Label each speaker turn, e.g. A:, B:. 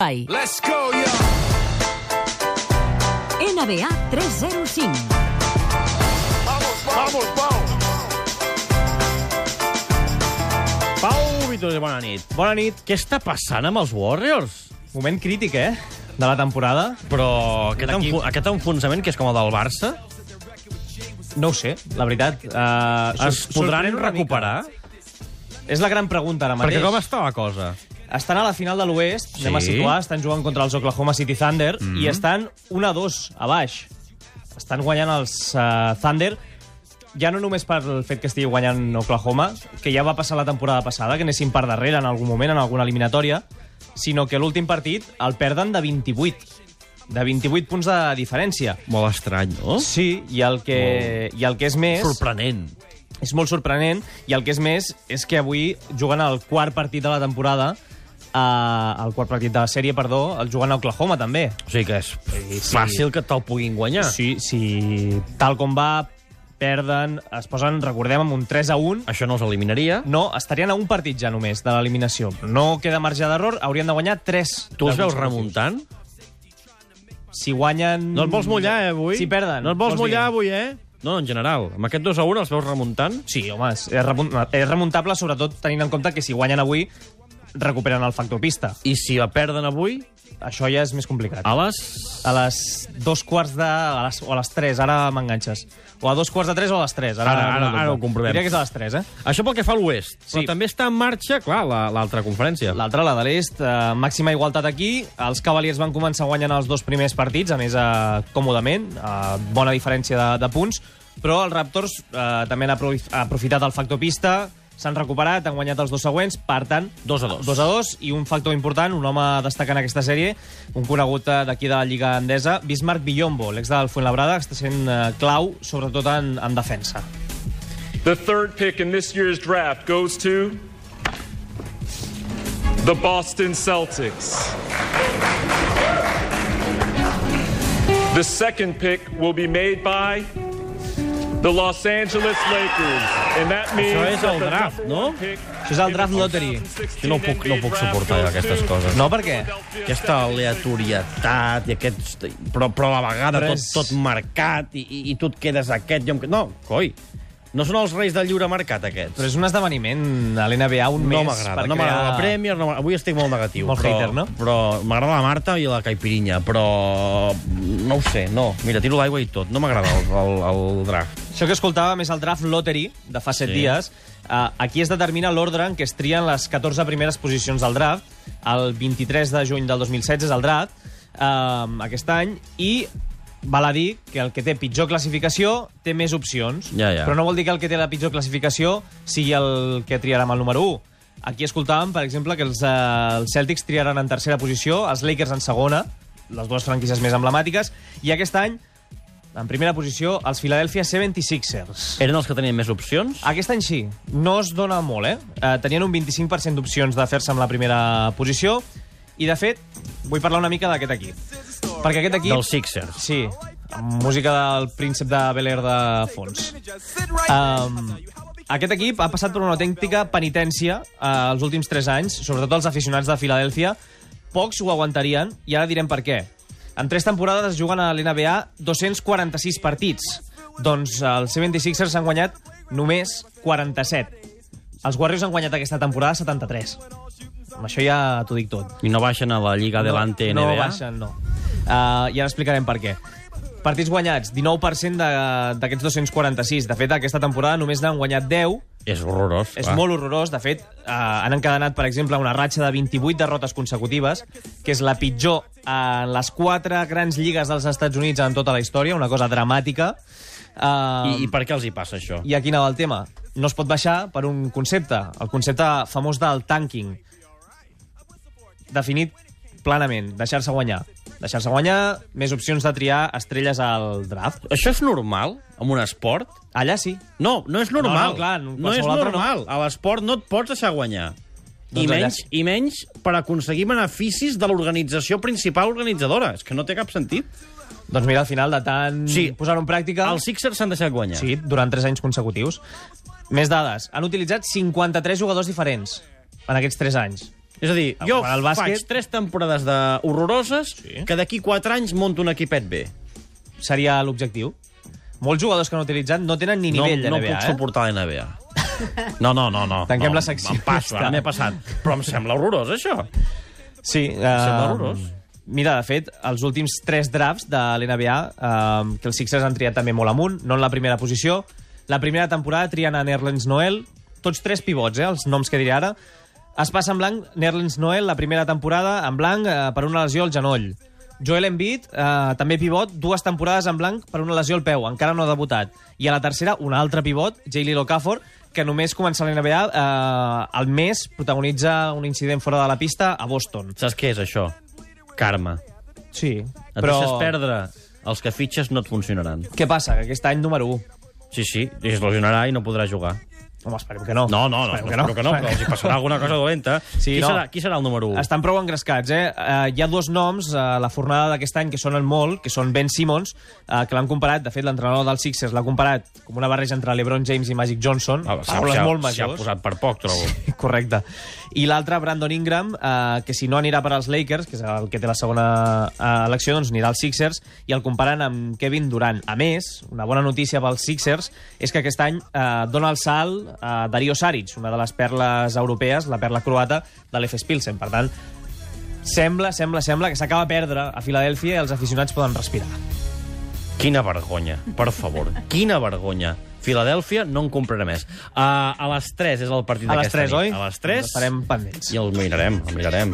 A: Espai.
B: Let's go, yo!
A: NBA 305.
B: Vamos, vamos, vamos!
C: Pau Vitosa, bona nit.
D: Bona nit.
C: Què està passant amb els Warriors?
D: Moment crític, eh? De la temporada.
C: Però aquest,
D: L'equip-
C: enfo aquest enfonsament, que és com el del Barça,
D: No ho sé, la veritat. Uh,
C: es podran recuperar?
D: És la gran pregunta ara mateix.
C: Perquè com està la cosa?
D: Estan a la final de l'Oest, sí. anem a
C: Sí.
D: situar, estan jugant contra els Oklahoma City Thunder mm. i estan 1-2 a baix. Estan guanyant els uh, Thunder ja no només pel fet que estigui guanyant Oklahoma, que ja va passar la temporada passada, que anessin per darrere en algun moment, en alguna eliminatòria, sinó que l'últim partit el perden de 28. De 28 punts de diferència.
C: Molt estrany, no?
D: Sí, i el que, i el que és més...
C: Sorprenent.
D: És molt sorprenent, i el que és més és que avui, jugant al quart partit de la temporada, eh, el quart partit de la sèrie, perdó, el jugant a Oklahoma, també.
C: O sigui que és fàcil que te'l puguin guanyar.
D: Sí, sí, tal com va, perden, es posen, recordem, amb un 3 a 1,
C: Això no els eliminaria.
D: no, estarien a un partit ja només de l'eliminació. No queda marge d'error, haurien de guanyar 3.
C: Tu els veus remuntant?
D: Si guanyen...
C: No et vols mullar, eh, avui?
D: Si perden.
C: No et vols
D: vols dir?
C: mullar, avui, eh? No, en general. Amb aquest 2 a 1 els veus remuntant?
D: Sí, home, és, és remun- és remuntable, sobretot tenint en compte que si guanyen avui, recuperen el factor pista.
C: I si la perden avui,
D: Això ja és més complicat.
C: a les...
D: A les dos quarts de... A les, o a les tres, ara m'enganxes. O a dos quarts de tres o a les tres. Ara,
C: Ara- ara- ara ho comprovem.
D: Diria que és a les tres, eh?
C: Això pel que fa a l'Oest.
D: Sí.
C: Però també està en marxa, clar, la- l'altra conferència.
D: L'altra, la de l'est, eh, màxima igualtat aquí. Els Cavaliers van començar guanyant els dos primers partits, a més, eh, còmodament, eh, bona diferència de, de punts, però els Raptors eh, també han aprof aprofitat el factor pista, s'han recuperat, han guanyat els dos següents, per tant...
C: Dos a dos.
D: 2 a 2 i un factor important, un home a destacar en aquesta sèrie, un conegut eh, d'aquí de la Lliga Andesa, Bismarck Villombo, l'ex del Fuenlabrada, que està sent eh, clau, sobretot en, en defensa.
E: The third pick in this year's draft goes to the Boston Celtics. The second pick will be made by the Los Angeles Lakers. And that means
C: Això és
E: that
C: el
E: the
C: draft,
E: number
C: no?
E: one pick
D: Això és el draft lottery.
C: Jo no puc, no puc suportar aquestes coses.
D: No, per què?
C: aquesta aleatorietat i aquest... Però, però a la vegada
D: Però
C: tot,
D: és-
C: tot marcat i, i, i tu et quedes aquest... Jo em... que- No, coi, no són els reis del lliure mercat, aquests.
D: Però és un esdeveniment a l'NBA un
C: no
D: mes
C: m'agrada,
D: per
C: no
D: crear...
C: m'agrada la Premier, no m'agrada- avui estic molt negatiu.
D: Molt
C: però,
D: hater, no?
C: Però m'agrada la Marta i la Caipirinha, però no ho sé, no. Mira, tiro l'aigua i tot, no m'agrada el, el, el draft.
D: Això que escoltàvem és el draft lottery de fa
C: Sí.
D: 7 sí. dies. Uh, aquí es determina l'ordre en què es trien les 14 primeres posicions del draft. El 23 de juny del 2016 és el draft, uh, aquest any, i val a dir que el que té pitjor classificació té més opcions,
C: Ja, ja.
D: però no vol dir que el que té la pitjor classificació sigui el que triarà amb el número 1. Aquí escoltàvem, per exemple, que els, eh, els Celtics triaran en tercera posició, els Lakers en segona, les dues franquícies més emblemàtiques, i aquest any en primera posició, els Philadelphia 76ers.
C: Eren els que tenien més opcions?
D: Aquest any sí, no es dona molt, eh? Eh, Tenien un 25% d'opcions de fer-se amb la primera posició, i de fet, vull parlar una mica d'aquest equip. Perquè aquest equip...
C: Dels Sixers.
D: Sí, amb música del príncep de Bel Air de fons. Um, aquest equip ha passat per una autèntica penitència eh, els últims 3 anys, sobretot els aficionats de Filadèlfia. Pocs ho aguantarien, i ara direm per què. En 3 temporades es juguen a l'NBA 246 partits. Doncs els 76ers han guanyat només 47. Els Warriors han guanyat aquesta temporada 73. Amb això ja t'ho dic tot.
C: I no baixen a la Lliga Adelante
D: No,
C: NBA?
D: no baixen, no. Uh, I ara explicarem per què. Partits guanyats, 19% de- d'aquests 246. De fet, aquesta temporada només n'han guanyat 10.
C: És horrorós.
D: És
C: clar.
D: molt horrorós. De fet, uh, han encadenat, per exemple, una ratxa de 28 derrotes consecutives, que és la pitjor en les quatre grans lligues dels Estats Units en tota la història, una cosa dramàtica. Uh,
C: I, I per què els hi passa això?
D: i aquí anava el tema. No es pot baixar per un concepte, el concepte famós del tanking. Definit planament, deixar-se guanyar. Deixar-se guanyar, més opcions de triar estrelles al draft.
C: Això és normal, en un esport?
D: Allà sí.
C: No, no és normal.
D: No, no, clar, en
C: no és
D: qualsevol altre
C: normal. A l'esport no et pots deixar guanyar. I
D: Doncs allà
C: menys,
D: sí.
C: I menys per aconseguir beneficis de l'organització principal organitzadora. És que no té cap sentit.
D: Doncs mira, al final de tant
C: Sí.
D: posar-ho en pràctica...
C: Els Sixers s'han deixat guanyar.
D: Ah. Sí, durant 3 anys consecutius. Més dades. Han utilitzat 53 jugadors diferents en aquests 3 anys.
C: És a dir,
D: A
C: jo
D: jugar al bàsquet.
C: faig tres temporades de horroroses
D: Sí.
C: que d'aquí quatre anys monto un equipet bé.
D: Seria l'objectiu. Molts jugadors que han utilitzat no tenen ni nivell
C: no, no
D: NBA,
C: puc
D: eh?
C: suportar la NBA. No, no, no. no
D: Tanquem
C: no,
D: la secció.
C: Em passo,
D: Ja
C: ara
D: està.
C: m'he passat. Però em sembla horrorós, això.
D: Sí. Uh,
C: horrorós.
D: Mira, de fet, els últims tres drafts de l'NBA, uh, que els Sixers han triat també molt amunt, no en la primera posició. La primera temporada trien a Nerlens Noel, tots tres pivots, eh, els noms que diré ara. Es passa en blanc Nerlens Noel la primera temporada, en blanc eh, per una lesió al genoll. Joel Embiid, eh, també pivot, dues temporades en blanc per una lesió al peu, encara no ha debutat. I a la tercera, un altre pivot, J.L. Okafor, que només comença la NBA eh, al mes, protagonitza un incident fora de la pista a Boston.
C: Saps què és això? Karma.
D: Sí,
C: Et
D: però...
C: deixes perdre, els que fitxes no et funcionaran.
D: Què passa? Que aquest any número 1.
C: Sí, sí, i es lesionarà i no podrà jugar.
D: Home, esperem que no.
C: No, no, no,
D: Esperem
C: espero que no, que no però els hi passarà alguna cosa dolenta.
D: Sí,
C: qui,
D: no.
C: serà, qui serà el número 1?
D: Estan prou engrescats, eh? Uh, hi ha dos noms a uh, la fornada d'aquest any que sonen molt, que són Ben Simmons, uh, que l'han comparat, de fet, l'entrenador dels Sixers l'ha comparat com una barreja entre LeBron James i Magic Johnson,
C: Ah, s'ha-
D: paraules
C: s'ha-
D: molt
C: S'hi ha
D: majors.
C: posat per poc, trobo.
D: Correcte. I l'altre, Brandon Ingram, eh, que si no anirà per als Lakers, que és el que té la segona eh, elecció, doncs anirà als Sixers, i el comparen amb Kevin Durant. A més, una bona notícia pels Sixers és que aquest any eh, dona el salt a eh, Dario Saric, una de les perles europees, la perla croata de l'Efes Pilsen. Per tant, sembla, sembla, sembla que s'acaba de perdre a Filadèlfia i els aficionats poden respirar.
C: Quina vergonya, per favor. Quina vergonya. Filadèlfia no en comprarà més. Uh, a les 3 és el partit
D: A les
C: d'aquesta
D: 3,
C: nit.
D: oi?
C: A les 3.
D: Doncs estarem pendents.
C: I el mirarem, el mirarem.